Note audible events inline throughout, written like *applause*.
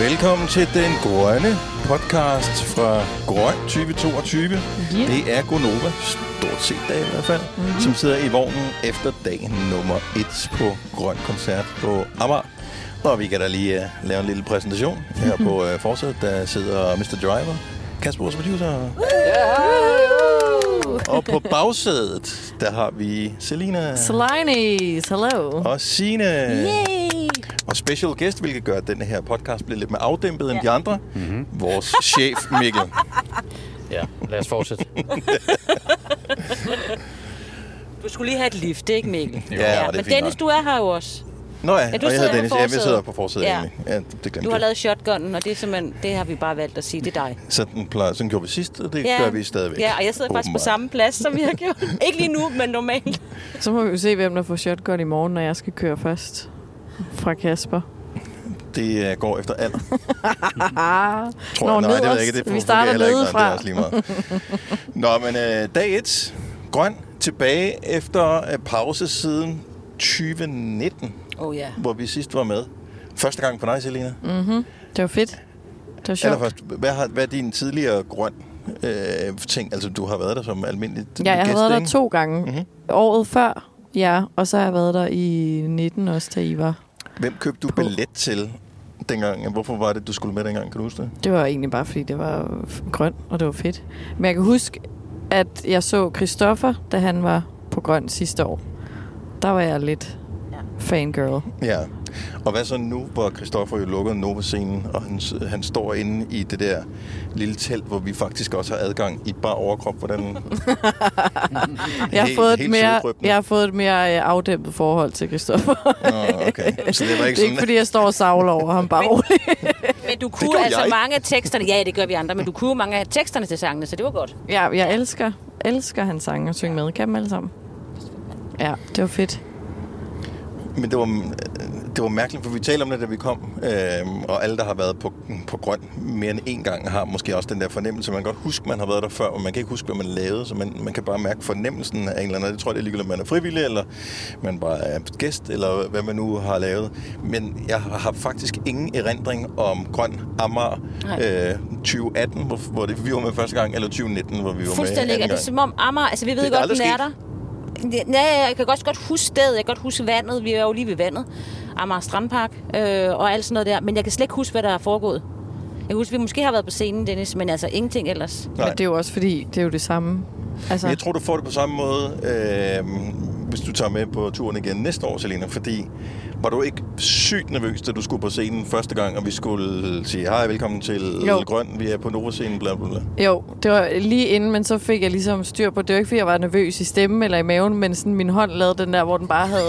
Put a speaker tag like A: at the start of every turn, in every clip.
A: Velkommen til den grønne podcast fra Grøn 2022. Yeah. Det er Gonova, stort set dag i hvert fald, mm-hmm. som sidder i vognen efter dag nummer 1 på Grøn Koncert på Amager. Og vi kan da lige uh, lave en lille præsentation. Her på uh, forsædet, der sidder Mr. Driver, Kasper vores producer. Og på bagsædet, der har vi Selina
B: Salinis, hello.
A: og Sine.
B: Yay!
A: Og special guest, hvilket gør, at den her podcast bliver lidt mere afdæmpet end de andre. Mm-hmm. Vores chef, Mikkel.
C: Ja, lad os fortsætte.
D: Du skulle lige have et lift, ikke Mikkel?
A: *laughs* Ja, og det er
D: men
A: fint
D: Dennis,
A: nok.
D: du er her jo også.
A: Nå ja,
D: Ja, du
A: og jeg
D: sidder
A: hedder
D: på
A: Dennis. Jeg
D: forsædet.
A: sidder på forsædet
D: Ja.
A: ja. egentlig. Ja, det glemte
D: Du har
A: jeg.
D: lavet shotgunnen, og det, er simpelthen, det har vi bare valgt at sige, det er dig.
A: Sådan, plejer, sådan gjorde vi sidst, og det ja. gør vi stadigvæk.
D: Ja, og jeg sidder faktisk på
A: Åbenbart.
D: samme plads, som vi har
A: *laughs*
D: gjort. ikke lige nu, men normalt.
B: Så må vi jo se, hvem der får shotgun i morgen, når jeg skal køre først. Fra Kasper.
A: Det øh, går efter
D: *laughs*
A: alder.
B: Ah,
A: Tror jeg.
B: Nå,
A: Nej, det ved jeg
B: nederst.
A: ikke. Det
B: Vi
A: fungerer
B: starter
A: heller ikke,
B: nedefra.
A: Nej, det er også lige meget. Nå, men øh, dag 1. Grøn tilbage efter øh, pause siden 2019,
D: Åh oh, ja.
A: hvor vi sidst var med. Første gang for dig, Selina. Mm,
B: det var fedt. Det var sjovt.
A: Allerførst, hvad, har, hvad er din tidligere grøn øh, ting? Altså, du har været der som almindelig
B: Ja, jeg har
A: gæst,
B: været der
A: ikke?
B: to gange.
A: Mm.
B: Mm-hmm. Året før, ja. Og så har jeg været der i 19 også, da I var.
A: Hvem købte du
B: på.
A: billet til dengang? Hvorfor var det, du skulle med dengang? Kan du huske det?
B: Det var egentlig bare, fordi det var f- grøn, og det var fedt. Men jeg kan huske, at jeg så Christoffer, da han var på grøn sidste år. Der var jeg lidt fangirl.
A: Ja. Og hvad så nu, hvor Christoffer jo lukkede Nova-scenen, og han, s- han står inde i det der lille telt, hvor vi faktisk også har adgang i bare overkrop.
B: *laughs*
A: Hvordan...
B: Jeg har,
A: *laughs* Helt-
B: fået et
A: helt
B: mere,
A: sødrøbende.
B: jeg har fået et mere øh, afdæmpet forhold til Christoffer.
A: Nå, okay. Så det var ikke
B: *laughs* det er
A: sådan...
B: ikke, fordi jeg står og savler over ham bare roligt.
D: Men
A: gjorde
D: du kunne altså
A: jeg.
D: jeg. mange af teksterne. Ja, det gør vi andre, men du kunne jo mange af teksterne til sangene, så det var godt.
B: Ja, jeg elsker, elsker hans sange og synge med. Kan dem alle sammen? Ja, det var fedt.
A: Men det var, øh, det var mærkeligt, for vi talte om det, da vi kom. Øhm, og alle, der har været på, på grøn mere end én gang, har måske også den der fornemmelse. Man kan godt huske, man har været der før, men man kan ikke huske, hvad man lavede. Så man, man kan bare mærke fornemmelsen af en eller anden. Det tror jeg, det er ligegyldigt, om man er frivillig, eller man bare er gæst, eller hvad man nu har lavet. Men jeg har faktisk ingen erindring om grøn Amager
D: Nej.
A: øh, 2018, hvor, hvor det, vi var med første gang, eller 2019, hvor vi var med
D: Fuldstændig.
A: anden
D: Er det
A: gang.
D: som om Amager... Altså, vi ved
A: Det er
D: godt,
A: aldrig
D: den er der. Ja, ja, jeg kan også godt huske stedet. Jeg kan godt huske vandet. Vi er jo lige ved vandet. Amager Strandpark øh, og alt sådan noget der. Men jeg kan slet ikke huske, hvad der er foregået. Jeg kan huske, vi måske har været på scenen, Dennis, men altså ingenting ellers.
A: Nej.
B: Men det er jo også fordi, det er jo det samme. Altså,
A: Men jeg tror, du får det på samme måde, øh, hvis du tager med på turen igen næste år, Selina, fordi var du ikke sygt nervøs, da du skulle på scenen første gang, og vi skulle sige, hej, velkommen til
B: Jo.
A: Grøn, vi er på Nova-scenen, bla bla bla.
B: Jo, det var lige inden, men så fik jeg ligesom styr på, det var ikke fordi, jeg var nervøs i stemmen eller i maven, men sådan min hånd lavede den der, hvor den bare havde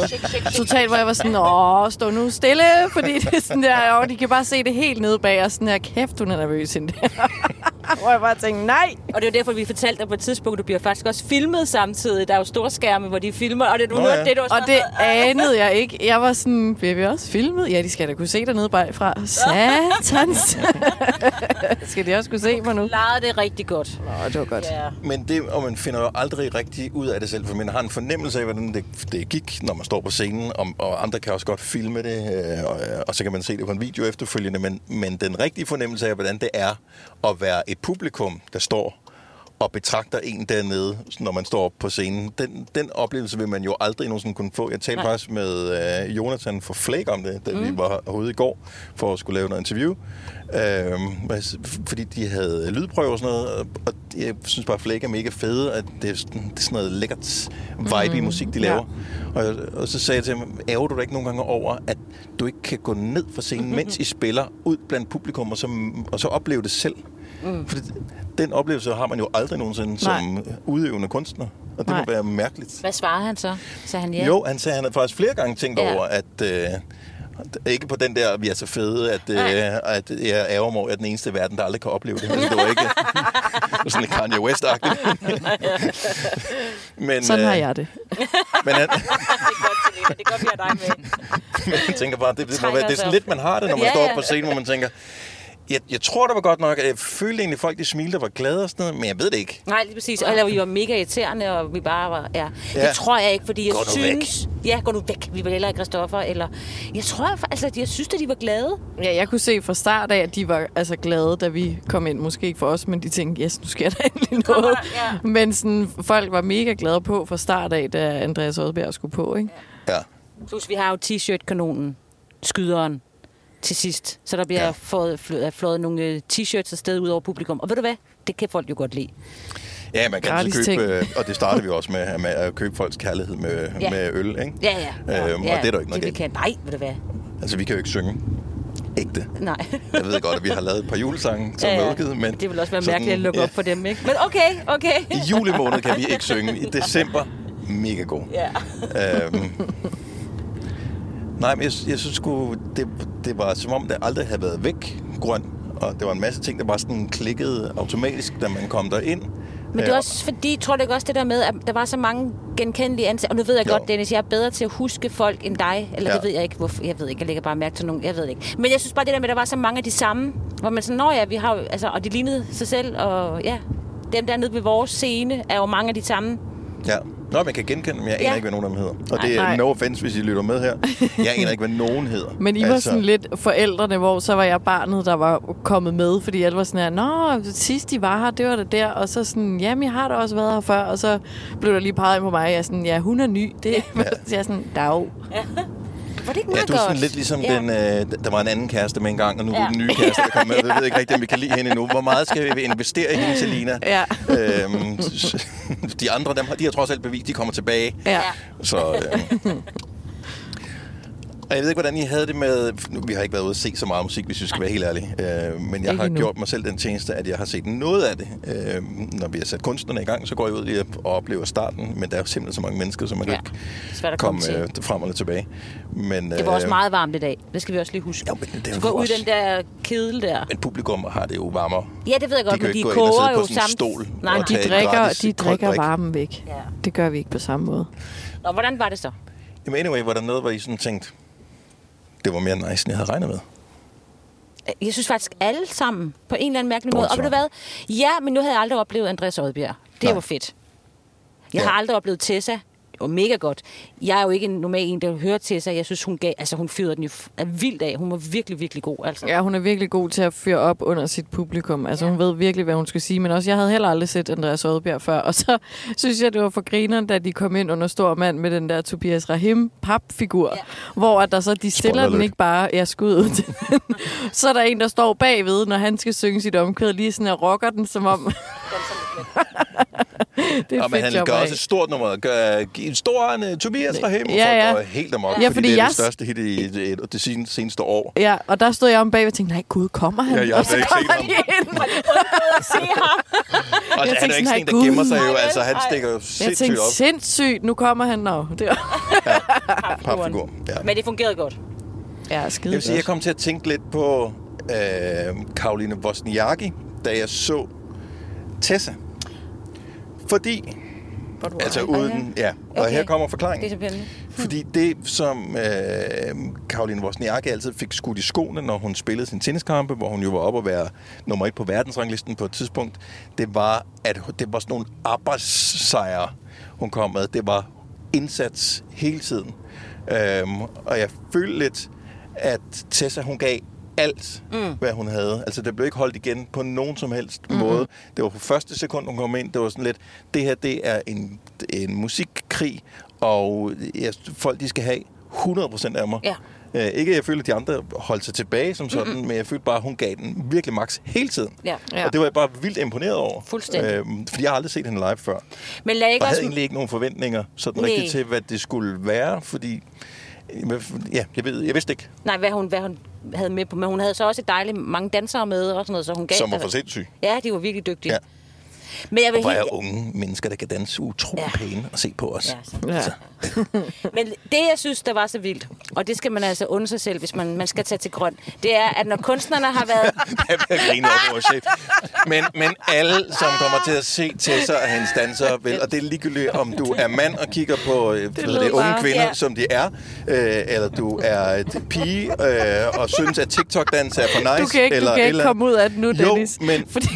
B: totalt, hvor jeg var sådan, åh, stå nu stille, fordi det er sådan der, og de kan bare se det helt nede bag, og sådan der, kæft, hun er nervøs hende der. *laughs* hvor jeg bare tænkte, nej.
D: Og det er jo derfor, vi fortalte dig på et tidspunkt, du bliver faktisk også filmet samtidig. Der er jo store skærme, hvor de filmer, og det, du
A: Nå
D: Nå, hørte,
A: ja.
D: ja. det, du også
B: Og
D: bare
B: det
D: sådan
B: anede jeg ikke. Jeg var sådan, bliver vi også filmet? Ja, de skal da kunne se dernede bagfra. Satans. *laughs* skal de også kunne se mig nu?
D: noget, klarede det rigtig godt.
B: Nå, det var godt.
D: Ja.
A: Men det, og man finder jo aldrig rigtig ud af det selv, for man har en fornemmelse af, hvordan det, det gik, når man står på scenen, og, og andre kan også godt filme det, øh, og, og så kan man se det på en video efterfølgende, men, men den rigtige fornemmelse af, hvordan det er at være et publikum, der står og betragter en dernede, når man står op på scenen, den, den oplevelse vil man jo aldrig nogensinde kunne få. Jeg talte
D: Nej.
A: faktisk med øh, Jonathan for Flæk om det, da mm. vi var herude i går for at skulle lave noget interview. Øhm, altså, f- fordi de havde lydprøve og sådan noget, og- og jeg synes bare, at Flæk er mega fede, at det er sådan, det er sådan noget lækkert vibe mm. musik, de
B: Ja.
A: laver. Og, jeg- og så sagde jeg til ham, ærger du dig ikke nogle gange over, at du ikke kan gå ned fra *laughs* scenen, mens I spiller, ud blandt publikum, og så, og så opleve det selv? Mm. For den oplevelse har man jo aldrig nogensinde Nej. som udøvende kunstner, og det
B: Nej.
A: må være mærkeligt.
D: Hvad svarede han så? Sagde han ja?
A: Ja. Jo, han sagde, han havde faktisk flere gange tænkt
D: Ja.
A: over, at... Øh, ikke på den der, vi er så fede, at, øh,
D: Nej.
A: at jeg ærger mig over, at jeg er den eneste i verden, der aldrig kan opleve det. Altså, det var ikke
D: *laughs*
A: det var sådan lidt Kanye West-agtigt. men,
B: Sådan
A: øh,
B: har jeg det.
A: *laughs* Men han,
D: Det er godt, Selena. Det er godt, vi har dig med.
A: *laughs* men jeg tænker bare, det, det, må
D: Trækker
A: være, det er
D: os
A: sådan
D: op.
A: lidt, man har det, når man ja,
D: Ja,
A: står
D: ja.
A: på scenen, hvor man tænker, jeg, jeg tror, det var godt nok, at jeg følte egentlig, at folk de smilte og var glade og sådan noget, men jeg ved det ikke.
D: Nej, lige præcis. Og eller vi var mega irriterende, og vi bare var... Ja. ja.
A: Ja.
D: Det tror jeg ikke, fordi jeg
A: Gå nu
D: synes... Væk. Ja, gå nu væk. Vi vil hellere have Christoffer, eller... Jeg tror, fa- altså, jeg synes, at de var glade.
B: Ja, jeg kunne se fra start af, at de var altså glade, da vi kom ind. Måske ikke for os, men de tænkte, yes, nu sker der endelig
D: Kommer
B: noget.
D: der, ja.
B: Men sådan, folk var mega glade på fra start af, da Andreas Odbjerg skulle på, ikke?
A: Ja.
D: Plus, vi har jo t-shirt-kanonen, skyderen, til sidst. Så der bliver ja.
A: Ja.
D: flået, flået, flået nogle øh, t-shirts afsted ud over publikum. Og ved du hvad? Det kan folk jo godt lide.
A: Ja, man kan altid
B: Gratis
A: købe,
B: ting.
A: øh, og det
B: *laughs*
A: startede vi også med, at- med at købe folks kærlighed med,
D: Ja.
A: ja. med øl, ikke?
D: Ja, ja.
A: Øhm, og
D: ja,
A: det er der ikke noget
D: det, vi
A: galt.
D: kan. Nej, ved du hvad?
A: Altså, vi kan jo ikke synge ægte.
D: Nej.
A: Jeg ved godt, at vi har lavet et par julesange,
D: *laughs*
A: som ja, ja. er udgivet, men...
D: Det vil også være
A: sådan,
D: mærkeligt at lukke op for dem, ikke? Men okay,
A: *laughs*
D: okay.
A: I juli måned kan vi ikke synge. I december, mega god.
D: Ja.
A: Øhm, nej, men jeg, jeg synes sgu, det, det var som om, det aldrig havde været væk, grøn. Og det var en masse ting, der bare sådan klikkede automatisk, da man kom derind.
D: Men det er
A: Øh,
D: også fordi, tror du ikke også det der med, at der var så mange genkendelige ansatte. Og nu ved jeg
A: Jo.
D: godt, Dennis, jeg er bedre til at huske folk end dig. Eller ja. det
A: Ja.
D: ved jeg ikke, hvorfor. Jeg ved ikke, jeg lægger bare mærke til nogen. Jeg ved det ikke. Men jeg synes bare, det der med, at der var så mange af de samme. Hvor man sådan, nå ja, vi har jo, altså, og de lignede sig selv. Og ja, dem der nede ved vores scene er jo mange af de samme.
A: Ja. Nå, man kan genkende dem. Jeg aner
D: Ja.
A: ikke, hvad nogen af dem hedder. Og
B: Nej,
A: det
B: nej.
A: er no offense, hvis I lytter med
B: *laughs*
A: her. Jeg aner ikke, hvad nogen hedder. Altså,
B: Men I var sådan lidt forældrene, hvor så var jeg barnet, der var kommet med, fordi alle var sådan her, Nå, sidst de var her, det var det der, og så sådan, jamen jeg har da også været her før, og så blev der lige peget ind på mig, og jeg er sådan, ja, hun er ny, *laughs* det ja. jeg er sådan, dag.
D: Var det ikke
A: Ja,
D: meget
A: du er sådan
D: godt?
A: lidt ligesom
D: ja.
A: ja. den, øh, der var en anden kæreste med en gang, og nu ja.
D: Ja.
A: er den nye kæreste, der kommer med. Vi ved ikke rigtig, om vi kan lide hende endnu. Hvor meget skal vi investere i hende, Selina?
B: Ja.
A: Øhm, s- de andre, dem, har- de har trods alt bevist, de kommer tilbage.
B: Ja.
A: Så, øhm. Og jeg ved ikke, hvordan I havde det med... nu, Vi har ikke været ude at se så meget musik, hvis vi skal være helt ærlige. Øh, men jeg
B: Ikke
A: har
B: endnu.
A: gjort mig selv den tjeneste, at jeg har set noget af det. Øh, når vi har sat kunstnerne i gang, så går jeg ud lige og oplever starten. Men der er jo simpelthen så mange mennesker, som man
D: Ja.
A: ja. ikke
D: Det er Svært at komme,
A: komme
D: til.
A: øh, frem eller tilbage. Men,
D: Det var også
A: øh,
D: meget varmt i dag. Det skal vi også lige huske.
A: Ja, men det er
D: Så
A: jo
D: gå ud
A: også-
D: i den der kedel der.
A: Men publikum har det jo varmere.
D: Ja, det ved jeg
A: De
D: godt,
A: kan
D: men de
A: jo ikke gå ind og
D: koger
A: sidde på
D: jo
A: sådan en stol
D: sammen. Nej,
A: og
D: de
B: De
A: tage et
B: drikker,
A: gratis
B: de
A: koldt
B: drikker
A: drik.
B: varmen væk.
D: Ja.
B: Det gør vi ikke på samme måde.
D: Nå, hvordan var det så?
A: Jamen anyway, var der noget, hvor I sådan tænkte, det var mere nice, end jeg havde regnet med.
D: Jeg synes faktisk alle sammen på en eller anden mærkelig måde. Og
A: Bortset.
D: ved du hvad? Ja, men nu havde jeg aldrig oplevet Andreas Odbjerg. Det
A: Nej.
D: var fedt. Jeg
A: Ja.
D: har aldrig oplevet Tessa. Det var mega godt. Jeg er jo ikke en normal en, der hører Tessa. Jeg synes, hun, gav, altså, hun fyrede den jo f- af vildt af. Hun var virkelig, virkelig god. Altså.
B: Ja, hun er virkelig god til at fyre op under sit publikum. Altså, ja. hun ved virkelig, hvad hun skal sige. Men også, jeg havde heller aldrig set Andreas Rødbjerg før. Og så *laughs* synes jeg, det var for grineren, da de kom ind under stor mand med den der Tobias Rahim papfigur. Ja. Hvor at der så, de stiller
A: Spoiler
B: den
A: alert.
B: ikke bare, jeg skud ud til den. *laughs* Så er der en, der står bagved, når han skal synge sit omkvæd, lige sådan og rocker den, som *laughs* om... det er
A: Og men
B: et fedt
A: han
B: job
A: gør
B: af.
A: også et stort nummer. Gør, giv en stor hånd, øh, Tobias fra Hemmel.
B: Ja, ja.
A: Folk går helt amok,
B: Ja,
A: fordi,
B: fordi
A: det er
B: jeg-
A: det største hit i, i, i det sen- seneste år.
B: Ja, og der stod jeg om bagved og tænkte, nej gud, kommer han?
A: Ja, jeg har
B: og så
A: slet ikke set
B: kommer
A: ham.
B: de ind.
A: Og
B: Jeg
A: han er
B: tænkte
A: ikke
B: sådan,
A: sådan en,
B: "Gud."
A: der gemmer sig
D: Nej,
A: jo.
D: vel?
A: Altså, han
D: Ej.
A: stikker jo
B: Jeg
A: sindssygt
B: tænkte,
A: op.
B: sindssygt, nu kommer han. Nå, det var...
A: Papfigur. Ja.
D: *laughs* Men det fungerede godt.
B: Ja, skide
A: Jeg vil sige, jeg kom til at tænke lidt på øh, Karoline Wozniacki, da jeg så Tessa. Fordi, altså uden, ja, og
D: Okay.
A: her kommer
D: Det er
A: forklaringen.
D: så pænt.
A: Fordi det, som øh, Karoline Wozniacki altid fik skudt i skoene, når hun spillede sin tenniskampe, hvor hun jo var oppe at være nummer et på verdensranglisten på et tidspunkt, det var, at hun- det var sådan nogle arbejdssejre, hun kom med. Det var indsats hele tiden. Øhm, og jeg følte lidt, at Tessa, hun gav alt, mm. hvad hun havde. Altså, det blev ikke holdt igen på nogen som helst mm-hmm. måde. Det var på første sekund, hun kom ind, det var sådan lidt, det her, det er en, en musikkrig, og jeg, folk, de skal have 100% af mig.
D: Ja.
A: Øh, ikke, at jeg følte, at de andre holdt sig tilbage som sådan, mm-hmm. men jeg følte bare, at hun gav den virkelig max hele tiden.
D: Ja.
B: Ja.
A: Og det var jeg bare vildt imponeret over.
D: Fuldstændig.
A: Øhm, fordi jeg har aldrig set hende live før.
D: Men lad ikke
A: Og
D: også...
A: havde egentlig ikke nogen forventninger sådan
D: Nej.
A: rigtigt til, hvad det skulle være, fordi... øh, Ja, jeg, ved, jeg vidste ikke,
D: Nej, hvad hun, hvad hun havde med på. Men hun havde så også dejligt mange dansere med og sådan noget, så hun gav
A: som var
D: dig-
A: for sindssyg.
D: Ja, de var virkelig dygtige. Ja.
A: Ja.
D: Men jeg vil
A: Hvor er
D: helt,
A: unge mennesker, der kan danse utrolig
D: Ja.
A: ja. pæne og se på os.
D: Ja, så-
B: Ja.
D: Men det, jeg synes, der var så vildt, og det skal man altså undre sig selv, hvis man, man skal tage til grøn, det er, at når kunstnerne har
A: *laughs*
D: været...
A: *laughs* Jeg bliver grinet over vores chef. Men, men alle, som kommer til at se til sig og hans danser, vil, og det er ligegyldigt, om du er mand og kigger på øh, det
B: lød
A: det, unge
B: bare-
A: kvinder,
D: ja.
A: ja. som de er, øh, eller du er et pige øh, og synes, at TikTok-dans er for nice.
B: Du kan ikke,
A: eller,
B: du kan ikke
A: eller,
B: komme ud af det nu,
A: Jo,
B: Dennis.
A: men-
B: Fordi,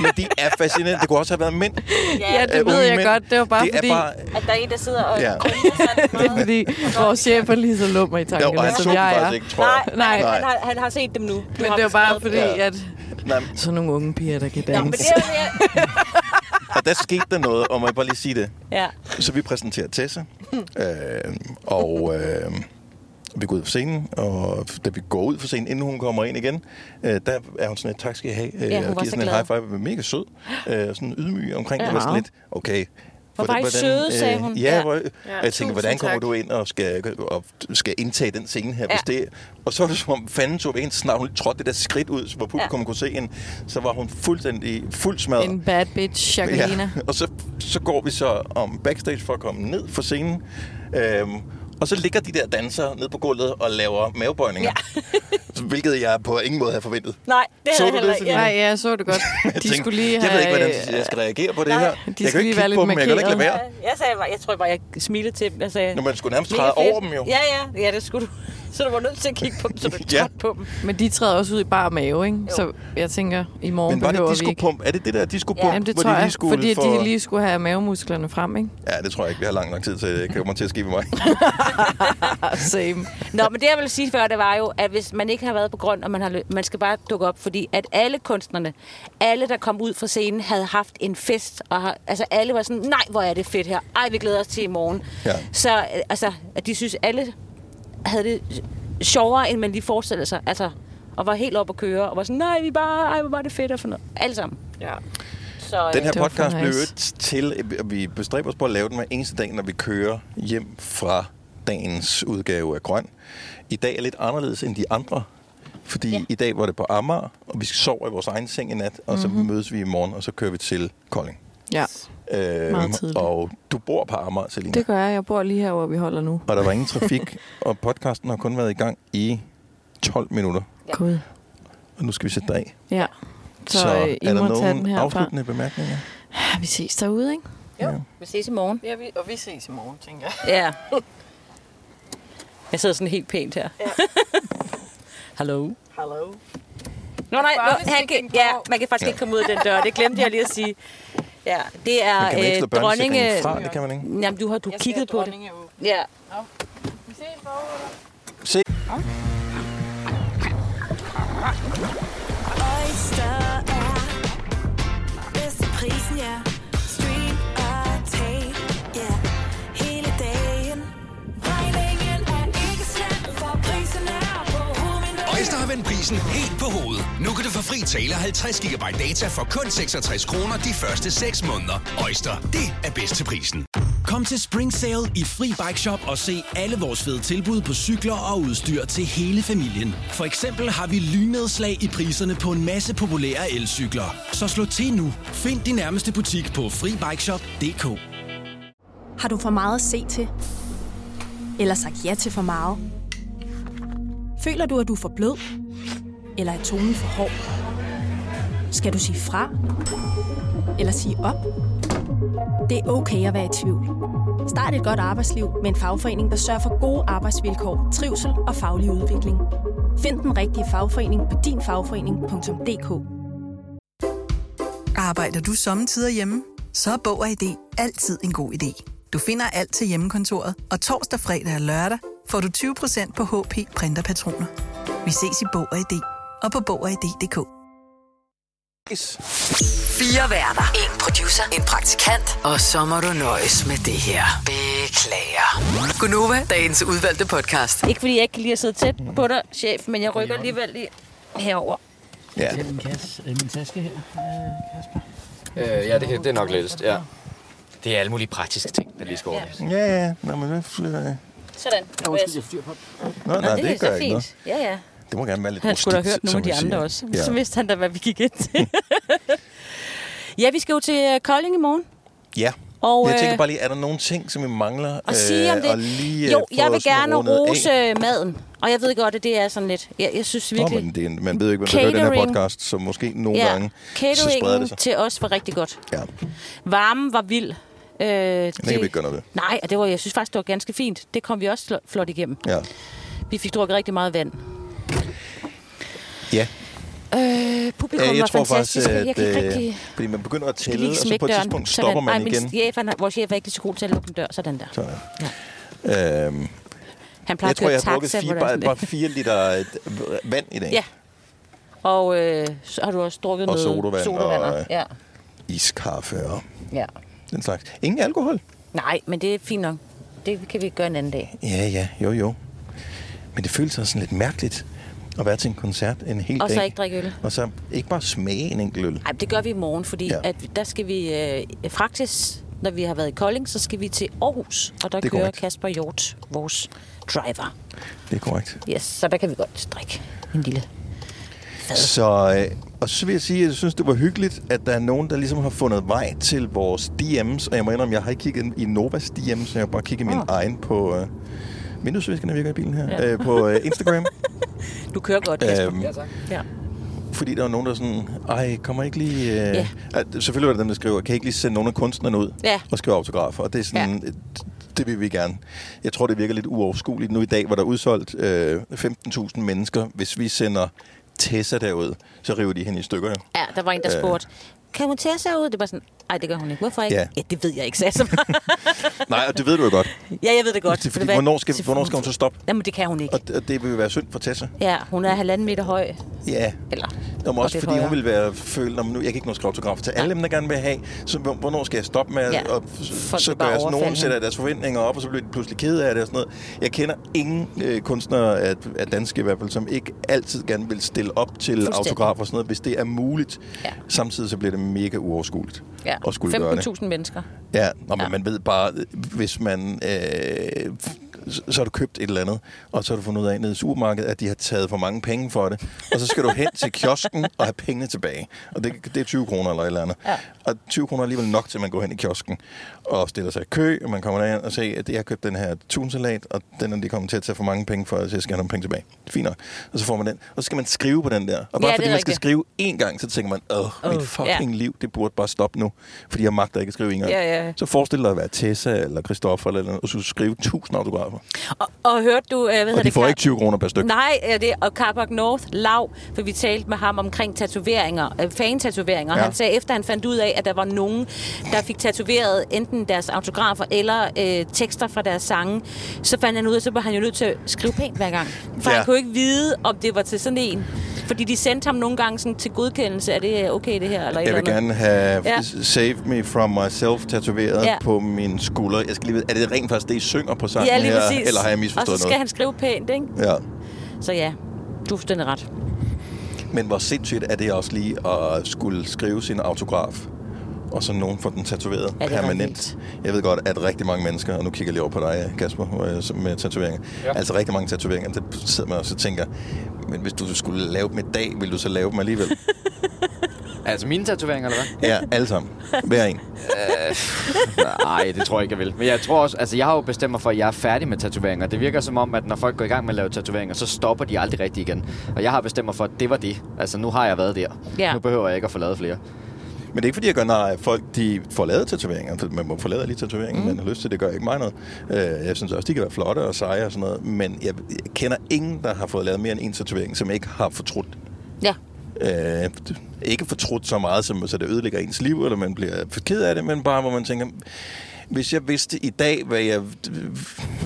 A: Men de er fascinerende. Det kunne også have været mænd.
B: ja, det
A: Øh,
B: ved
A: unge
B: jeg
A: mænd.
B: godt. Det var bare
A: det
B: fordi,
A: Er bare,
D: At der er en, der sidder og
A: Ja.
B: *laughs*
A: *laughs*
B: det er fordi vores chef er lige så lummer i
A: jo, og
B: tankerne,
A: han så
B: som
A: den
B: jeg er.
A: faktisk ikke, tror
D: Nej,
A: jeg.
B: Nej.
D: nej. Han, har, han har set dem nu. Du
B: Men
D: har
B: det var bare
D: beskrevet
B: fordi,
A: Ja.
B: at
A: Nej,
B: sådan nogle unge piger, der kan
D: dem. Nå, men
B: danse.
D: det er
B: *laughs*
D: jo det,
A: og der skete der noget, og må jeg bare lige sige det.
D: jeg...
A: Så vi præsenterer Tessa, øh, og øh, vi går ud på scenen, og da vi går ud på scenen, inden hun kommer ind igen, øh, der er hun sådan et, tak skal I have, øh,
D: Ja, hun
A: og
D: var
A: giver
D: så
A: sådan en
D: glad.
A: high five, men mega sød, øh, og sådan ydmyg omkring ja. det, var sådan
B: Ja.
A: lidt, okay. øh,
D: Hvor var I søde, sagde hun.
A: Ja,
D: Ja.
A: ja. Hvor, og jeg tænkte,
B: tusind
A: hvordan kommer
B: tak.
A: du ind og skal, og skal indtage den scene her? Ja.
D: Ja.
A: Hvis det, og så var det som om fanden tog en, snart hun trådte det der skridt ud, hvor publikum ja. kunne se hende, så var hun fuldstændig fuld smadret.
B: En bad bitch, Jacqueline.
A: *laughs* Og så, så går vi så om backstage for at komme ned fra scenen. Øhm, og så ligger de der dansere ned på gulvet og laver mavebøjninger. Ja. *laughs* hvilket jeg på ingen måde havde forventet.
D: Nej, det
A: Så
D: havde jeg
A: du
D: heller
A: det,
D: ikke.
B: Nej, ja, jeg så det godt.
A: *laughs* Jeg
B: De skulle lige
A: Jeg
B: have...
A: ved ikke, hvordan jeg skal reagere på det
D: Nej,
A: her.
D: de
A: jeg
B: skulle
A: kan jo
B: lige
A: ikke
B: være
A: kigge på dem,
B: lidt
A: jeg kan heller ikke lade være.
D: Ja, Jeg, sagde bare, jeg tror bare, jeg smilede til dem. Jeg sagde,
A: Når man skulle nærmest
D: "Mega
A: træde
D: fedt."
A: over dem jo.
D: Ja, ja, ja, det skulle du. *laughs* Så du var nødt til at kigge på dem, så du
A: Ja.
D: ja. på dem.
B: Men de træder også ud i bar mave, ikke? Så jeg tænker, i morgen
A: Men var det
B: behøver vi ikke.
A: diskopump? Er det det der diskopump,
B: Jamen, det
A: hvor
B: tror
A: de lige
B: jeg,
A: skulle
B: fordi
A: for...
B: de lige skulle have mavemusklerne frem, ikke?
A: Ja, det tror jeg ikke, vi har lang nok tid til. Det kommer til at ske med mig.
B: Ah, Same.
D: Nå, men det jeg ville sige før, det var jo, at hvis man ikke har været på grund, og man, har lø- man skal bare dukke op, fordi at alle kunstnerne, alle der kom ud fra scenen, havde haft en fest, og har, altså alle var sådan, nej, hvor er det fedt her, ej, vi glæder os til i morgen.
A: Ja.
D: Så øh, altså, at de synes, alle havde det sjovere, end man lige forestillede sig, altså, og var helt oppe at køre, og var sådan, nej, vi er bare, ej, hvor var det fedt, og for noget, alle sammen.
B: Ja.
D: Så, øh,
A: Den her
B: Det var for
A: podcast
B: nice.
A: blev nice. til, at vi bestræber os på at lave den hver eneste dag, når vi kører hjem fra dagens udgave af Grøn. I dag er lidt anderledes end de andre, fordi ja. i dag var det på Amager, og vi sover i vores egen seng i nat, og
B: Mhm.
A: mm-hmm. så mødes vi i morgen, og så kører vi til Kolding.
B: ja,
A: Øhm,
B: Meget tidligt.
A: og du bor på Amager, Selina,
B: det gør jeg. Jeg bor lige her, hvor vi holder nu.
A: og der var ingen trafik, og podcasten har kun været i gang i 12 minutter,
D: Ja.
B: Gud.
A: og nu skal vi sætte dig af.
B: Ja.
A: så
B: Så, så øh, I
A: er der
B: må tage den
A: nogle
B: herfra.
A: afsluttende bemærkninger?
B: Ja, vi ses derude, ikke?
D: vi ses i morgen.
B: Ja, vi, og vi ses i morgen, tænker jeg.
D: Ja. Jeg sidder sådan helt pænt her. Ja. *laughs* Hallo.
B: Hello.
D: Nå, nej,
B: Bare
D: nå,
B: hvis
D: han
B: ikke den
D: kan,
B: går.
D: ja, man kan faktisk ikke komme ud af den dør. Det glemte jeg lige at sige. Ja, det er
A: Man kan man ikke slå
D: øh, dronninge...
A: børnesikringen fra, det kan man ikke.
D: Jamen, du har du kigget på det. Ja.
A: Se.
E: Oyster er bedst til prisen, ja. Stream og tag, ja. Hele dagen. Regningen er ikke slem, for prisen er på hovedet.
F: Øjster har vendt prisen helt på hovedet. Nu kan du få fri tale 50 GB data for kun 66 kroner de første 6 måneder. Øjster, det er bedst til prisen.
G: Kom til Spring Sale i Fri Bike Shop og se alle vores fede tilbud på cykler og udstyr til hele familien. For eksempel har vi lynedslag i priserne på en masse populære elcykler. Så slå til nu. Find din nærmeste butik på FriBikeShop.dk
H: Har du for meget at se til? Eller sagt ja til for meget? Føler du, at du er for blød? Eller er tonen for hård? Skal du sige fra? Eller sige op? Det er okay at være i tvivl. Start et godt arbejdsliv med en fagforening, der sørger for gode arbejdsvilkår, trivsel og faglig udvikling. Find den rigtige fagforening på dinfagforening.dk.
I: Arbejder du sommetider hjemme? Så er Bog og ID altid en god idé. Du finder alt til hjemmekontoret, og torsdag, fredag og lørdag får du 20% på HP Printerpatroner. Vi ses i Bog og ID og på Bog og ID.dk.
J: Fire værter. En producer. En praktikant. Og så må du nøjes med det her. Beklager. Gunova, dagens udvalgte podcast.
D: Ikke fordi jeg ikke kan lide at sidde tæt på dig, chef, men jeg rykker alligevel lige herover.
A: Ja,
C: Min, kasse, min taske her, Kasper. *laughs* Øh, ja, det, kan- det er nok lettest, ja. Det er alle mulige praktiske ting, der lige skal ordnes.
A: ja, ja. Nå, men det flytter jeg.
D: Sådan. Nå,
C: jeg styr på det.
A: Nå, nej, det, det gør ikke noget.
D: Ja, ja.
A: Det må gerne være lidt
D: Han skulle da have
A: rustikt,
D: hørt nogle af
A: som
D: de
A: vi siger.
D: andre også.
A: Ja.
D: Så vidste han da, hvad vi gik ind til. *laughs* Ja, vi skal jo til øh, Kolding i morgen.
A: Ja.
D: Og,
A: Og, jeg tænker
D: øh,
A: bare lige, er der nogle ting, som vi mangler?
D: Og sige om
A: øh,
D: det.
A: Og lige, øh,
D: jo, jeg
A: få
D: vil
A: sådan
D: gerne
A: rundet af?
D: rose øh, maden. Og jeg ved godt, at det er sådan lidt... Jeg, jeg synes
A: Nå,
D: virkelig...
A: men det er, en- man ved jo ikke, hvem der hører den her
D: Catering.
A: podcast, så måske nogle
D: ja,
A: gange, så spreder
D: cateringen
A: det sig.
D: til os var rigtig godt.
A: Ja.
D: Varmen var vild. Øh, det
A: kan vi ikke gøre noget ved.
D: Nej, og det var, jeg synes faktisk, det var ganske fint. Det kom vi også fl- flot igennem.
A: Ja.
D: Vi fik drukket rigtig meget vand.
A: ja.
D: Øh, publikum
A: Øh,
D: var
A: jeg tror
D: fantastisk.
A: faktisk, at,
D: jeg kan ikke
A: øh,
D: rigtig... Jeg
A: fordi man begynder at
D: kan
A: tælle,
D: lige
A: og så
D: smække
A: på et
D: døren.
A: tidspunkt
D: Sådan.
A: stopper man
D: Ej,
A: igen.
D: Min chef, han, er- vores chef er ikke lige så god til at lukke en dør. Sådan der.
A: Sådan. Øhm,
D: Han plejer
A: jeg
D: at
A: tror,
D: køre
A: jeg har drukket
D: taxa. hvor
A: fire,
D: der er
A: bare,
D: sådan
A: bare
D: lidt-
A: fire liter øh, vand i dag.
D: Ja. Og øh, så har du også drukket
A: Og
D: noget
A: sodavand
D: sodavand
A: og, øh,
D: ja.
A: Iskaffe og
D: ja.
A: den slags. Ingen alkohol.
D: Nej, men det er fint nok. Det kan vi gøre en anden dag.
A: Ja, ja, jo, jo. Men det føles også sådan lidt mærkeligt at være til en koncert en hel
D: Og
A: dag.
D: så ikke drikke øl.
A: Og så ikke bare smage en enkelt øl.
D: Ej, men det gør vi i morgen, fordi
A: Ja.
D: ja. at der skal vi øh, faktisk, når vi har været i Kolding, så skal vi til Aarhus. Og der
A: Det er
D: kører
A: korrekt.
D: Kasper Hjort, vores driver.
A: Det er korrekt.
D: Yes, så der kan vi godt drikke en lille...
A: Så, øh, og så vil jeg sige, at jeg synes, det var hyggeligt, at der er nogen, der ligesom har fundet vej til vores DM's. Og jeg må indrømme, jeg har ikke kigget i Novas DM's, jeg har bare kigget min
D: Ah.
A: egen på... Øh, vinduesviskerne virker i bilen her. Ja. Øh, på øh,
D: *laughs*
A: Instagram.
D: Du kører godt, Kasper.
A: Øhm, Ja,
D: tak. Ja.
A: fordi der var nogen, der sådan, ej, kommer ikke lige... Øh...
D: Ja.
A: At, selvfølgelig var der dem, der skriver, kan I ikke lige sende nogle af kunstnerne ud
D: Ja.
A: og skrive autografer? Og det er sådan, ja. det vil vi gerne. Jeg tror, det virker lidt uoverskueligt nu i dag, hvor der er udsolgt øh, 15.000 mennesker. Hvis vi sender Tessa derud, så river de hende i stykker. Jo.
D: ja, der var en, der
A: Øh.
D: spurgte, kan hun tage sig ud? Det var sådan, nej, det gør hun ikke. Hvorfor ikke?
A: Ja.
D: Ja, ja det ved jeg ikke, sagde jeg så bare.
A: Nej, og det ved du jo godt.
D: Ja, jeg ved det godt.
A: Det er, fordi,
D: Ved du hvad?
A: hvornår, skal,
D: Selvfølgelig-
A: hvornår skal hun så stoppe?
D: Jamen, det kan hun ikke.
A: Og, og det vil jo være synd for Tessa.
D: Ja, hun er halvanden meter høj.
A: Ja.
D: Eller,
A: Nå, men
D: og
A: også
D: lidt
A: fordi hun
D: højere.
A: vil være følt, om nu jeg kan ikke nå at skrive autografer til alle dem, der gerne vil have. Så hvor- hvornår skal jeg stoppe med?
D: Ja.
A: Ja. Og
D: Folk
A: så
D: vil bare
A: gør jeg sådan,
D: overfalde
A: nogen sætter
D: hende.
A: deres forventninger op, og så bliver de pludselig ked af det og sådan noget. Jeg kender ingen øh, kunstnere af, af danske i hvert fald, som ikke altid gerne vil stille op til
D: Fuldstændig.
A: autografer og sådan noget, hvis det er muligt.
D: Ja.
A: Ja. Samtidig så bliver det mega uoverskueligt
D: Ja,
A: at skulle gøre det.
D: 15.000 mennesker.
A: Ja, nå, men
D: Ja.
A: ja. man ved bare, hvis man... Øh, så- så har du købt et eller andet, og så har du fundet ud af nede i supermarkedet, at de har taget for mange penge for det. Og så skal du hen til kiosken og have pengene tilbage. Og det, det er 20 kroner eller et eller andet.
D: Ja.
A: Og 20 kroner er alligevel nok til, at man går hen i kiosken og stiller sig i kø, og man kommer derhen og siger, at jeg har købt den her tunsalat, og den er lige kommet til at tage for mange penge for, så jeg skal have nogle penge tilbage. Fint nok. Og så får man den. Og så skal man skrive på den der. Og bare
D: Ja, det er
A: fordi man skal
D: rigtigt.
A: skrive én gang, så tænker man, åh, mit
D: Åh,
A: fucking
D: ja.
A: liv, det burde bare stoppe nu, fordi jeg magter ikke at skrive en gang.
D: Ja, ja.
A: Så forestil dig at være Tessa eller Christoffer eller noget, og så skrive 1000 autografer.
D: Og, og hørte du... Øh, hvad
A: Og de får
D: Kar-
A: ikke 20 kroner per styk.
D: Nej, øh, det, og Carbock North, lav, for vi talte med ham omkring tatoveringer, øh, fan-tatoveringer. Ja.
A: Ja.
D: Han sagde, efter han fandt ud af, at der var nogen, der fik tatoveret enten deres autografer eller øh, tekster fra deres sange, så fandt han ud af, så var han jo nødt til at skrive pænt hver gang. For ja.
A: Ja.
D: han kunne ikke vide, om det var til sådan en. Fordi de sendte ham nogle gange sådan, til godkendelse, er det okay det her, eller et
A: Jeg
D: eller
A: vil
D: andet.
A: gerne have
D: Ja.
A: ja. Save Me From Myself tatoveret
D: Ja.
A: ja. på min skulder. Jeg skal lige vide, er det rent faktisk det, I synger på sangen
D: Ja, lige
A: her,
D: præcis.
A: eller har jeg
D: Og så
A: misforstået
D: skal
A: noget?
D: han skrive pænt, ikke?
A: Ja.
D: Så ja, du har fuldstændig ret.
A: Men hvor sindssygt er det også lige at skulle skrive sin autograf, og så nogen får den tatoveret
D: Ja, det er ret
A: permanent. Jeg ved godt, at rigtig mange mennesker, og nu kigger jeg lige over på dig, Kasper, hvor jeg- som med tatoveringer. Ja. Altså rigtig mange tatoveringer, der sidder man og så tænker, men hvis du skulle lave dem i dag, ville du så lave dem
D: *laughs*
A: alligevel?
C: Altså mine tatoveringer, eller hvad?
A: ja, alle sammen. Hver en.
C: Nej, det tror jeg ikke, jeg vil. Men jeg tror også, altså jeg har jo bestemt mig for, at jeg er færdig med tatoveringer. Det virker som om, at når folk går i gang med at lave tatoveringer, så stopper de aldrig rigtig igen. Og jeg har bestemt mig for, at det var det. Altså nu har jeg været der.
D: Ja.
C: Nu behøver jeg ikke at få lavet flere.
A: Men det er ikke fordi, jeg gør nej. Folk de får lavet tatoveringer. For Man må få lavet lige tatoveringen, mm. man har lyst til. Det gør ikke mig noget. Øh, Jeg synes også, de kan være flotte og seje og sådan noget. Men jeg jeg kender ingen, der har fået lavet mere end en tatovering, som ikke har fortrudt.
D: Ja,
A: Øh, ikke fortrudt så meget, som, så det ødelægger ens liv, eller man bliver for ked af det, men bare hvor man tænker, hvis jeg vidste i dag, hvad jeg,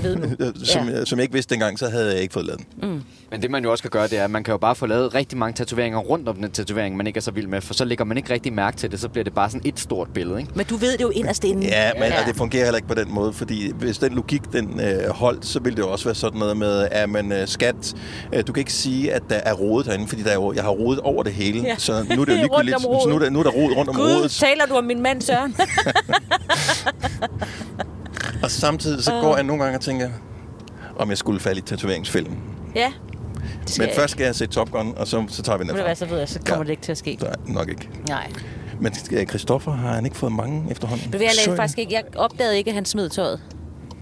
D: ved nu.
A: *laughs* som,
D: Ja. Mm.
A: ja. som jeg ikke vidste dengang, så havde jeg ikke fået lavet den.
C: Men det man jo også kan gøre, det er, at man kan jo bare få lavet rigtig mange tatoveringer rundt om den tatovering, man ikke er så vild med, for så lægger man ikke rigtig mærke til det, så bliver det bare sådan et stort billede, ikke?
D: Men du ved det jo inderst inden.
A: Ja, men ja. Og det fungerer heller ikke på den måde, fordi hvis den logik den øh, holdt, så ville det jo også være sådan noget med, at man øh, skat, øh, du kan ikke sige, at der er rodet herinde, fordi der er, jo- jeg har rodet over det hele,
D: Ja.
A: ja. så nu er det jo
D: *laughs* Rundt om
A: ligegyldigt,
D: rodet.
A: så nu er der, nu er der rod rundt om
D: Gud,
A: rodet,
D: taler du om min mand Søren?
A: og samtidig så går jeg nogle gange og tænker, om jeg skulle falde i tatoveringsfilm.
D: ja. Det
A: Men først skal jeg se Top Gun, og så, så tager vi den
D: Ved du
A: herfra.
D: hvad, så ved jeg, så kommer ja.
A: Ja.
D: det ikke til at ske.
A: Nej, nok ikke.
D: Nej.
A: Men øh, Christoffer har han ikke fået mange efterhånden?
D: Du ved, jeg,
A: Så
D: lagde faktisk ikke, jeg opdagede ikke, at han smed tøjet.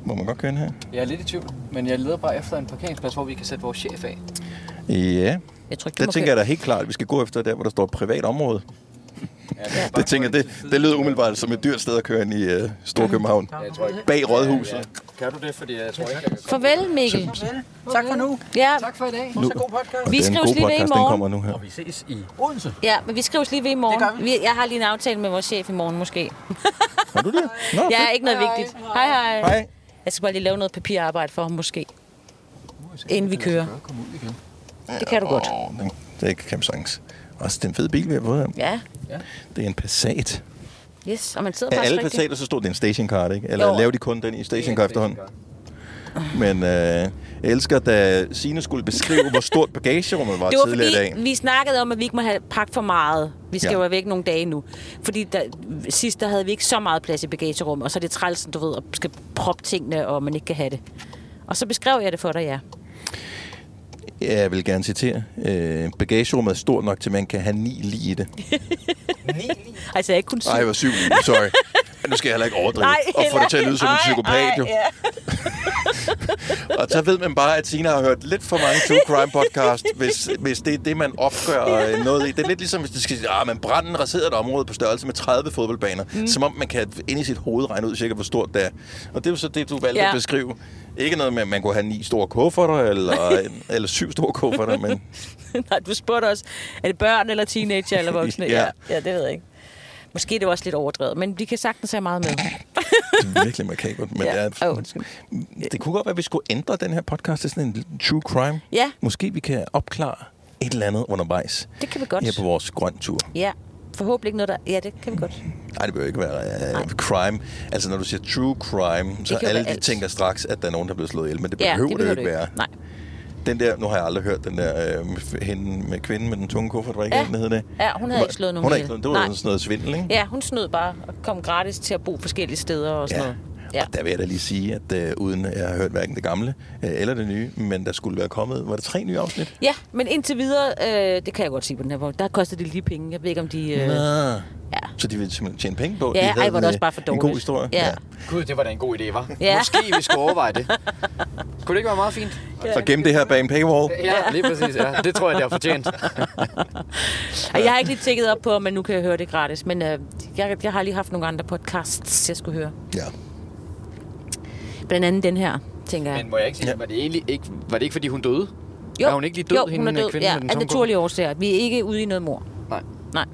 A: Må man godt køre ind her?
K: Jeg er lidt i tvivl, men jeg leder bare efter en parkeringsplads, hvor vi kan sætte vores chef af.
A: Ja.
D: Jeg tror ikke,
A: der
D: du må
A: tænker jeg
D: køre.
A: da helt klart, at vi skal gå efter der, hvor der står privat område. Ja, det tænker jeg, det, det lyder umiddelbart som et dyrt sted at køre ind i uh, Storkøbenhavn. Bag rådhuset.
K: Kan du det? Fordi jeg tror ikke, jeg kan
D: Farvel, Mikkel.
E: Tak for nu.
D: Ja,
K: Tak for i dag.
A: Fortsat
E: god podcast.
D: vi
A: Det er en
D: skrives
A: god
D: lige ved i
A: podcast, den
D: morgen.
A: kommer nu her.
K: Vi ses i Odense.
D: Ja, men vi skrives lige ved i
E: Det
D: morgen.
E: gør vi.
D: Vi- Jeg har lige en aftale med vores chef i morgen, måske.
A: Har du det? Nå,
D: Ja,
A: fedt.
D: ikke noget vigtigt. Hej, hej.
A: Hej.
D: Jeg skal bare lige lave noget papirarbejde for ham, måske. Inden vi kører. Det kan du godt.
A: Åh, den- Det er ikke kamp chance. Også den fede bil, vi har fået her.
D: Ja,
A: Det er en Passat.
D: yes. Og man sidder
A: Af
D: faktisk
A: alle
D: rigtig.
A: Passater, så stod det en stationcar, ikke? Eller
D: Jo.
A: lavede de kun den i stationcar efterhånden? Men øh, jeg elsker, da Signe skulle beskrive, hvor stort bagagerummet var,
D: *laughs* Det var
A: tidligere i dag.
D: fordi, vi snakkede om, at vi ikke må have pakket for meget. Vi skal
A: Ja.
D: ja. jo væk nogle dage nu. Fordi der, sidst der havde vi ikke så meget plads i bagagerummet, og så er det trælsen, du ved, at skal proppe tingene, og man ikke kan have det. Og så beskrev jeg det for dig, ja.
A: Ja, jeg vil gerne citere. Øh, bagagerummet er stort nok til, at man kan have ni lige i det.
D: Altså, jeg ikke kun
A: Nej, jeg var syv lige. Sorry. Men nu skal jeg heller ikke overdrive
D: Nej,
A: og få
D: heller-
A: det til at lyde som en
D: Ej,
A: psykopat.
D: ej,
A: jo. og så ved man bare, at Tina har hørt lidt for mange true crime podcast, hvis, hvis det er det, man opgør øh, noget i. Det er lidt ligesom, hvis du skal sige, at man branden raserede et område på størrelse med 30 fodboldbaner. Mm. Som om man kan ind i sit hoved regne ud cirka, hvor stort det er. Og det er jo så det, du valgte
D: Ja.
A: at beskrive. Ikke noget med, at man kunne have ni store kufferter, eller, eller syv store kufferter, men
D: *laughs* Nej, du spurgte os, er det børn eller teenager eller voksne?
A: *laughs* Ja.
D: ja. ja, det ved jeg ikke. Måske er det også lidt overdrevet, men vi kan sagtens have meget med.
A: Det er virkelig makabert, men
D: Ja.
A: ja. det, er, Mm,
D: Åh, undskyld.
A: det kunne godt være, at vi skulle ændre den her podcast til sådan en true crime.
D: Ja.
A: Måske vi kan opklare et eller andet undervejs
D: Det kan vi godt.
A: her på vores grøn tur.
D: Ja, forhåbentlig ikke noget, der... Ja, det kan vi godt.
A: Nej, det behøver ikke være uh, crime. Altså, når du siger true crime, så
D: kan jo
A: alle
D: være
A: de
D: alt.
A: tænker straks, at der er nogen, der er blevet slået ihjel, men det
D: Ja,
A: behøver, det,
D: behøver
A: jo ikke være.
D: Nej.
A: Den der, nu har jeg aldrig hørt den der øh, hende med kvinden med den tunge kuffert, var ikke
D: Ja.
A: den, der hed det?
D: Ja, hun havde
A: Hvor-
D: ikke slået nogen
A: Hun havde ikke
D: ihjel.
A: slået, det var
D: Nej.
A: sådan noget svindel, ikke?
D: Ja, hun snød bare og kom gratis til at bo forskellige steder og sådan noget.
A: Ja. Og der vil jeg da lige sige, at øh, uden at jeg har hørt hverken det gamle øh, eller det nye, men der skulle være kommet, var det tre nye afsnit?
D: Ja, men indtil videre, øh, det kan jeg godt sige på den her måde, der koster det lige penge. Jeg ved ikke, om de... Øh,
A: Nå.
D: Ja.
A: Så de ville simpelthen tjene penge på?
D: Ja,
A: de
D: ej, hvor er det
A: en, øh,
D: også bare for
A: En god
D: dårligt.
A: historie?
D: Ja.
C: Gud, det var da en god idé, var.
D: Ja.
C: Måske vi skulle overveje det. Kunne det ikke være meget fint?
A: Så gem det her bag en paywall.
C: Ja, lige præcis. Ja. Det tror jeg, det har fortjent.
D: og jeg har ikke lige tjekket op på, om man nu kan høre det gratis, men øh, jeg, jeg har lige haft nogle andre podcasts, jeg skulle høre.
A: Ja.
D: Blandt andet den her, tænker jeg.
C: Men må jeg ikke sige,
A: Ja.
C: var det egentlig ikke, var det ikke fordi hun døde? Er hun ikke lige død,
D: jo,
C: hende
D: hun er død,
C: kvinde
D: ja,
C: med den
D: af
C: tunge
D: naturlige årsager. Vi er ikke ude i noget mor.
C: Nej.
D: Nej,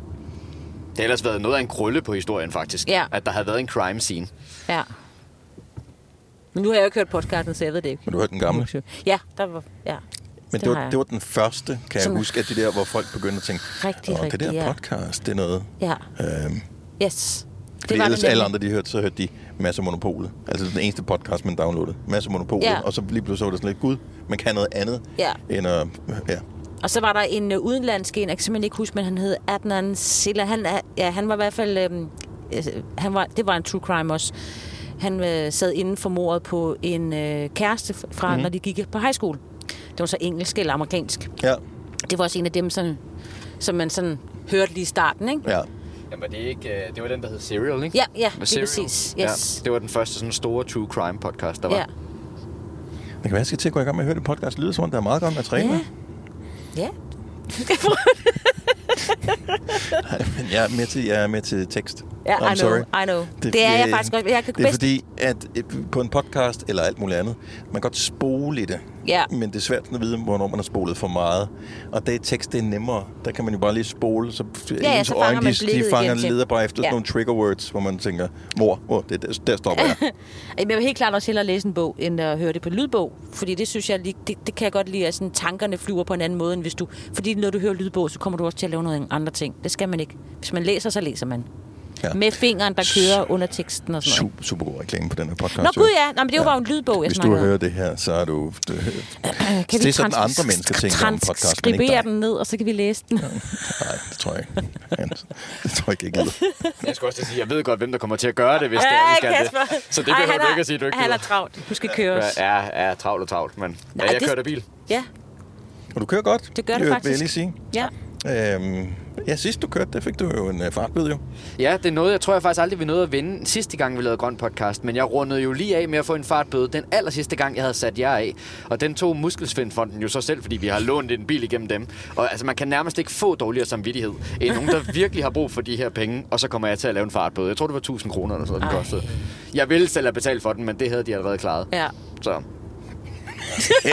C: Det har ellers været noget af en krølle på historien, faktisk.
D: Ja.
C: At der havde været en crime scene.
D: ja. Men nu har jeg jo ikke hørt podcasten, så jeg ved det ikke.
A: Men du hørte den gamle.
D: Ja, der var... Ja.
A: Men
D: Det
A: det
D: har
A: var,
D: jeg.
A: det var den første, kan jeg
D: Sådan-
A: huske, at det der, hvor folk begyndte at tænke,
D: Rigtig,
A: "Åh, det
D: rigtig,
A: der
D: ja."
A: podcast, det er noget.
D: Ja.
A: Øhm,
D: Yes.
A: det var ellers
D: nemlig.
A: alle andre, de hørte, så hørte de Mads og Monopolet. Altså den eneste podcast, man downloadede. Mads og Monopolet.
D: Ja.
A: Og så lige pludselig så var det sådan lidt, gud, man kan noget andet.
D: Ja.
A: End at, ja.
D: Og så var der en øh, udenlandsk en, jeg kan simpelthen ikke huske, men han hed Adnan Silla. Han, er- ja, han var i hvert fald... Øhm, øh, han var, det var en true crime også. Han øh, sad inden for mordet på en øh, kæreste fra, mm. når de gik på high school. Det var så engelsk eller amerikansk.
A: ja.
D: Det var også en af dem, sådan, som man sådan hørte lige i starten, ikke?
A: Ja.
C: Jamen, det, er ikke, øh, det var den, der hed Serial, ikke?
D: Ja, ja,
C: Med
D: lige
C: Serial.
D: præcis. Yes.
C: Ja, det var den første sådan store true crime podcast, der var.
D: Ja.
A: Det kan være, jeg skal til at gå i gang med at høre det podcast. Det lyder som om, der er meget godt materiale.
D: Ja. Ja.
A: Men jeg er med til, jeg er med til tekst.
D: Ja,
A: I'm
D: I know,
A: sorry.
D: I know. Det er jeg
A: øh,
D: faktisk også. Jeg kan
A: det er
D: bedst-
A: fordi, at øh, på en podcast eller alt muligt andet, man kan godt spole i det.
D: Ja.
A: Men det er svært at vide, hvornår man har spolet for meget. Og det er tekst, det er nemmere. Der kan man jo bare lige spole, så ja, ens
D: så fanger
A: øjne,
D: man
A: de, de
D: blikket
A: fanger
D: igen til-
A: leder bare efter sådan
D: Ja.
A: nogle trigger words, hvor man tænker, mor, oh, det, der, der stopper
D: *laughs*
A: jeg.
D: Jamen, jeg vil helt klart også hellere læse en bog, end at høre det på lydbog. Fordi det synes jeg, lige- det, det kan jeg godt lide, at sådan, tankerne flyver på en anden måde, end hvis du... Fordi når du hører lydbog, så kommer du også til at lave noget andre ting. Det skal man ikke. Hvis man læser, så læser man.
A: Ja.
D: Ja. Med fingeren, der kører under teksten og sådan noget.
A: Super, super god reklame på den her podcast.
D: Nå
A: jo.
D: gud ja, Nå, men det var jo bare en lydbog, jeg
A: Hvis du
D: snakkede om.
A: hører det her, så er du... Det,
D: Kan
A: det er
D: vi
A: sådan,
D: trans-
A: andre mennesker tænker om podcast, men ikke
D: transkribere
A: dig.
D: den ned, og så kan vi læse den.
A: Nej, det tror jeg ikke. Det tror jeg ikke, jeg gider.
D: *laughs*
C: Jeg skulle også til at sige, jeg ved godt, hvem der kommer til at gøre det, hvis det er, vi
D: Ja,
C: skal det. Så det behøver du ikke at sige, du ikke
D: Han er
C: gider.
D: travlt. Du skal køre os.
C: Ja, ja, ja, travlt og travlt, men
D: Nej,
C: ja, jeg
D: det-
C: kørte bil.
D: Ja,
A: Og du kører godt.
D: Det gør du
A: vil jeg
D: faktisk.
A: lige sige.
D: ja.
A: Øhm, Ja, sidst du kørte, der fik du jo en øh, fartbøde jo.
C: Ja, det er noget, jeg tror jeg faktisk aldrig, vi nåede at vinde sidste gang, vi lavede Grøn Podcast. Men jeg rundede jo lige af med at få en fartbøde den aller sidste gang, jeg havde sat jer af. Og den tog Muskelsvindfonden jo så selv, fordi vi har lånt en bil igennem dem. Og altså, man kan nærmest ikke få dårligere samvittighed end nogen, der virkelig har brug for de her penge. Og så kommer jeg til at lave en fartbøde. Jeg tror, det var 1000 kroner eller sådan noget, den
D: Ej.
C: kostede. Jeg ville selv have betalt for den, men det havde de allerede klaret.
D: Ja.
C: Så.
A: det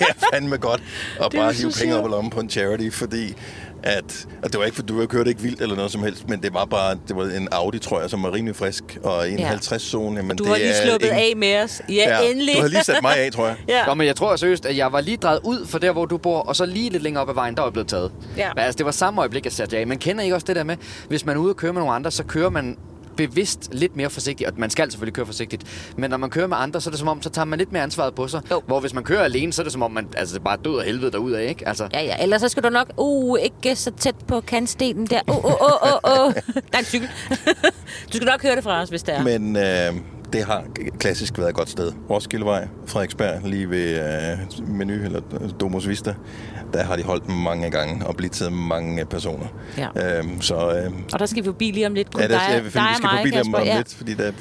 A: er fandme godt at
D: Det er
A: bare
D: så
A: hive penge
D: sjovt.
A: op og lommen på en charity, fordi at, og det var ikke, for du kørte ikke vildt eller noget som helst, men det var bare det var en Audi, tror jeg, som var rimelig frisk, og en
D: Ja.
A: ja. 50-zone. Men
D: Du
A: det
D: har lige
A: er
D: sluppet
A: ingen-
D: af med os. Ja, endelig.
A: Du har lige sat mig af, tror jeg.
D: *laughs* Ja.
C: Nå, men jeg tror seriøst, at jeg var lige drejet ud fra der, hvor du bor, og så lige lidt længere op ad vejen, der var jeg blevet taget.
D: Ja.
C: Men altså, det var samme øjeblik, jeg satte jer af. Man kender I ikke også det der med, hvis man er ude og køre med nogle andre, så kører man bevidst lidt mere forsigtigt, og man skal selvfølgelig køre forsigtigt, men når man kører med andre, så er det som om, så tager man lidt mere ansvaret på sig, jo. hvor hvis man kører alene, så er det som om, man altså, det er bare død og helvede derudad, ikke? Altså,
D: Ja, ja. Ellers så skal du nok, uh, ikke så tæt på kantstenen der. Uh, uh, uh, uh, uh. Der er en cykel. du skal nok høre det fra os, hvis det er.
A: Men øh, det har klassisk været et godt sted. Roskildevej, Frederiksberg, lige ved øh, Menu eller Domus Vista, der har de holdt mange gange og blitzet mange personer.
D: Ja.
A: Øh, så øh,
D: Og der skal vi forbi lige om lidt. Kun
A: ja, der,
D: dig,
A: jeg, vi,
D: dig
A: vi
D: og
A: skal
D: mig,
A: forbi dem
D: Kasper.
A: om
D: Ja.
A: lidt, fordi der...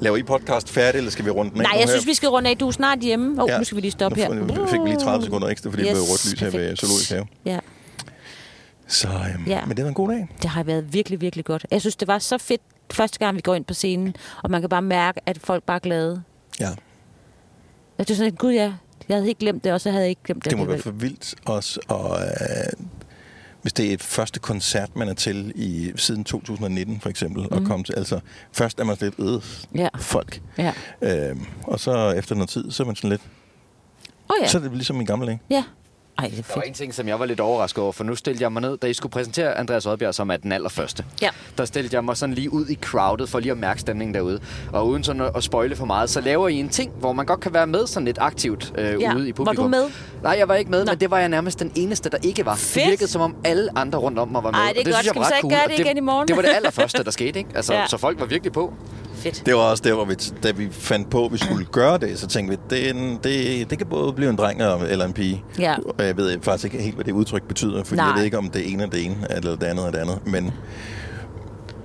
A: Laver I podcast færdig, eller skal vi runde den af
D: Nej,
A: nu
D: jeg
A: her?
D: synes, vi skal runde af. Du er snart hjemme. Åh, oh, nu skal vi lige stoppe her.
A: Nu fik vi lige 30 sekunder ekstra, fordi yes, det blev rødt lys her ved
D: perfekt.
A: Zoologisk Have.
D: Ja.
A: Så, øhm,
D: Ja.
A: ja. men det var en god dag.
D: Det har været virkelig, virkelig godt. Jeg synes, det var så fedt første gang, vi går ind på scenen, og man kan bare mærke, at folk bare er glade.
A: Ja.
D: Jeg synes sådan, gud ja, jeg havde ikke glemt det, og så havde jeg ikke glemt det.
A: Det må være
D: alligevel.
A: for vildt også, og øh, hvis det er et første koncert, man er til i siden 2019 for eksempel, mm. og komme til, altså først er man sådan lidt øh,
D: Mhm. Ja.
A: ja. folk,
D: Ja.
A: øhm, og så efter noget tid, så er man sådan lidt,
D: Åh ja.
A: så er det ligesom en gammel dag.
D: ja. Ej, det er
C: Der var
D: fedt.
C: en ting, som jeg var lidt overrasket over, for nu stillede jeg mig ned, da I skulle præsentere Andreas Oddbjerg, som er den allerførste.
D: Ja.
C: Der stillede jeg mig sådan lige ud i crowdet, for lige at mærke stemningen derude. Og uden sådan at- at spoile for meget, så laver I en ting, hvor man godt kan være med sådan lidt aktivt øh,
D: Ja.
C: ude i
D: Var du
C: publikum.
D: med?
C: Nej, jeg var ikke med, Nå. men det var jeg nærmest den eneste, der ikke var.
D: Fedt.
C: Det virkede som om alle andre rundt om mig var med.
D: Ej, det er
C: og det
D: godt.
C: Synes jeg
D: Skal
C: var
D: vi så
C: ret
D: ikke
C: cool.
D: gøre
C: og
D: det igen i morgen?
C: Det var det allerførste, der skete, ikke? Altså,
D: *laughs* Ja.
C: ja. Så folk var virkelig på.
D: fedt.
A: Det var også der, hvor vi, da vi fandt på, at vi skulle gøre det, så tænkte vi, det, er en, det, det kan både blive en dreng og- eller en pige.
D: Ja.
A: Og jeg ved faktisk ikke helt, hvad det udtryk betyder, for
D: Nej.
A: jeg ved ikke, om det ene er det ene, eller det andet er det andet. Men,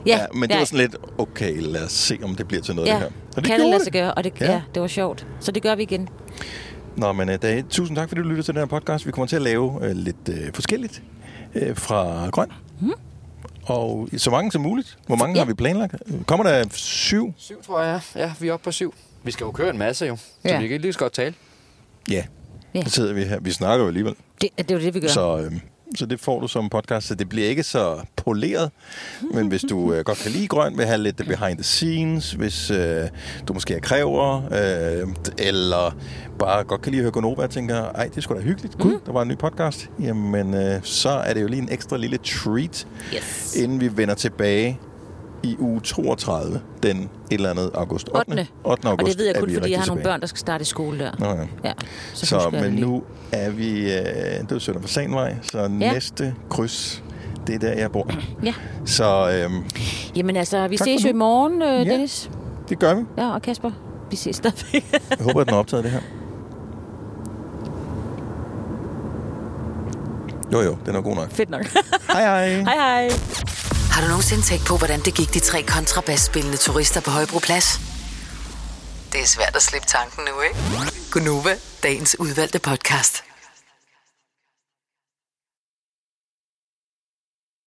D: Ja,
A: ja, men det var sådan lidt, okay, lad os se, om det bliver til noget
D: ja.
A: det her. Og det
D: kan det
A: gjorde
D: lade sig gøre, og det, ja.
A: Ja.
D: ja, det var sjovt. Så det gør vi igen.
A: Nå, men uh, da, tusind tak, fordi du lyttede til den her podcast. Vi kommer til at lave uh, lidt uh, forskelligt uh, fra Grøn. Mm. Og så mange som muligt. Hvor mange
D: Mhm. Ja.
A: ja. har vi planlagt? Kommer der syv?
C: Syv, tror jeg. Ja, vi er oppe på syv. Vi skal jo køre en masse, jo. Så
D: Ja.
C: vi kan lige så godt tale.
A: Ja.
D: Ja.
A: ja. Så sidder vi her. Vi snakker jo alligevel.
D: Det, det er jo det, vi gør. Så.
A: Så, øhm, så det får du som podcast, så det bliver ikke så poleret. Men hvis du øh, godt kan lide grøn, vil have lidt behind the scenes, hvis øh, du måske er kræver, øh, eller bare godt kan lide at høre Gonova og tænker, ej, det skulle sgu da hyggeligt, gud,
D: Mm.
A: der var en ny podcast, jamen øh, så er det jo lige en ekstra lille treat,
D: Yes.
A: inden vi vender tilbage i uge 32, den et eller andet august.
D: 8.
A: 8. 8. august
D: Og det ved jeg
A: er
D: kun,
A: vi
D: fordi
A: rigtig
D: jeg har nogle
A: tilbage.
D: børn, der skal starte i skole der.
A: Nå ja.
D: Ja,
A: Så,
D: så,
A: så
D: husker jeg
A: men
D: det lige.
A: nu er vi... Øh, det er Sønder på Sanvej, så ja. næste kryds, det er der, jeg bor.
D: Ja.
A: Så øhm,
D: Jamen altså, vi
A: Tak
D: ses
A: for
D: jo i
A: nu.
D: morgen, øh,
A: Ja.
D: Dennis.
A: det gør vi.
D: Ja, og Kasper. Vi ses stadigvæk. *laughs*
A: Jeg håber, at den har optaget det her. Jo, jo, den er god nok.
D: Fedt nok.
A: Hej, hej.
D: hej hej.
J: Har du nogensinde tænkt på, hvordan det gik de tre kontrabasspillende turister på Højbroplads? Det er svært at slippe tanken nu, ikke? Gunova, dagens udvalgte podcast.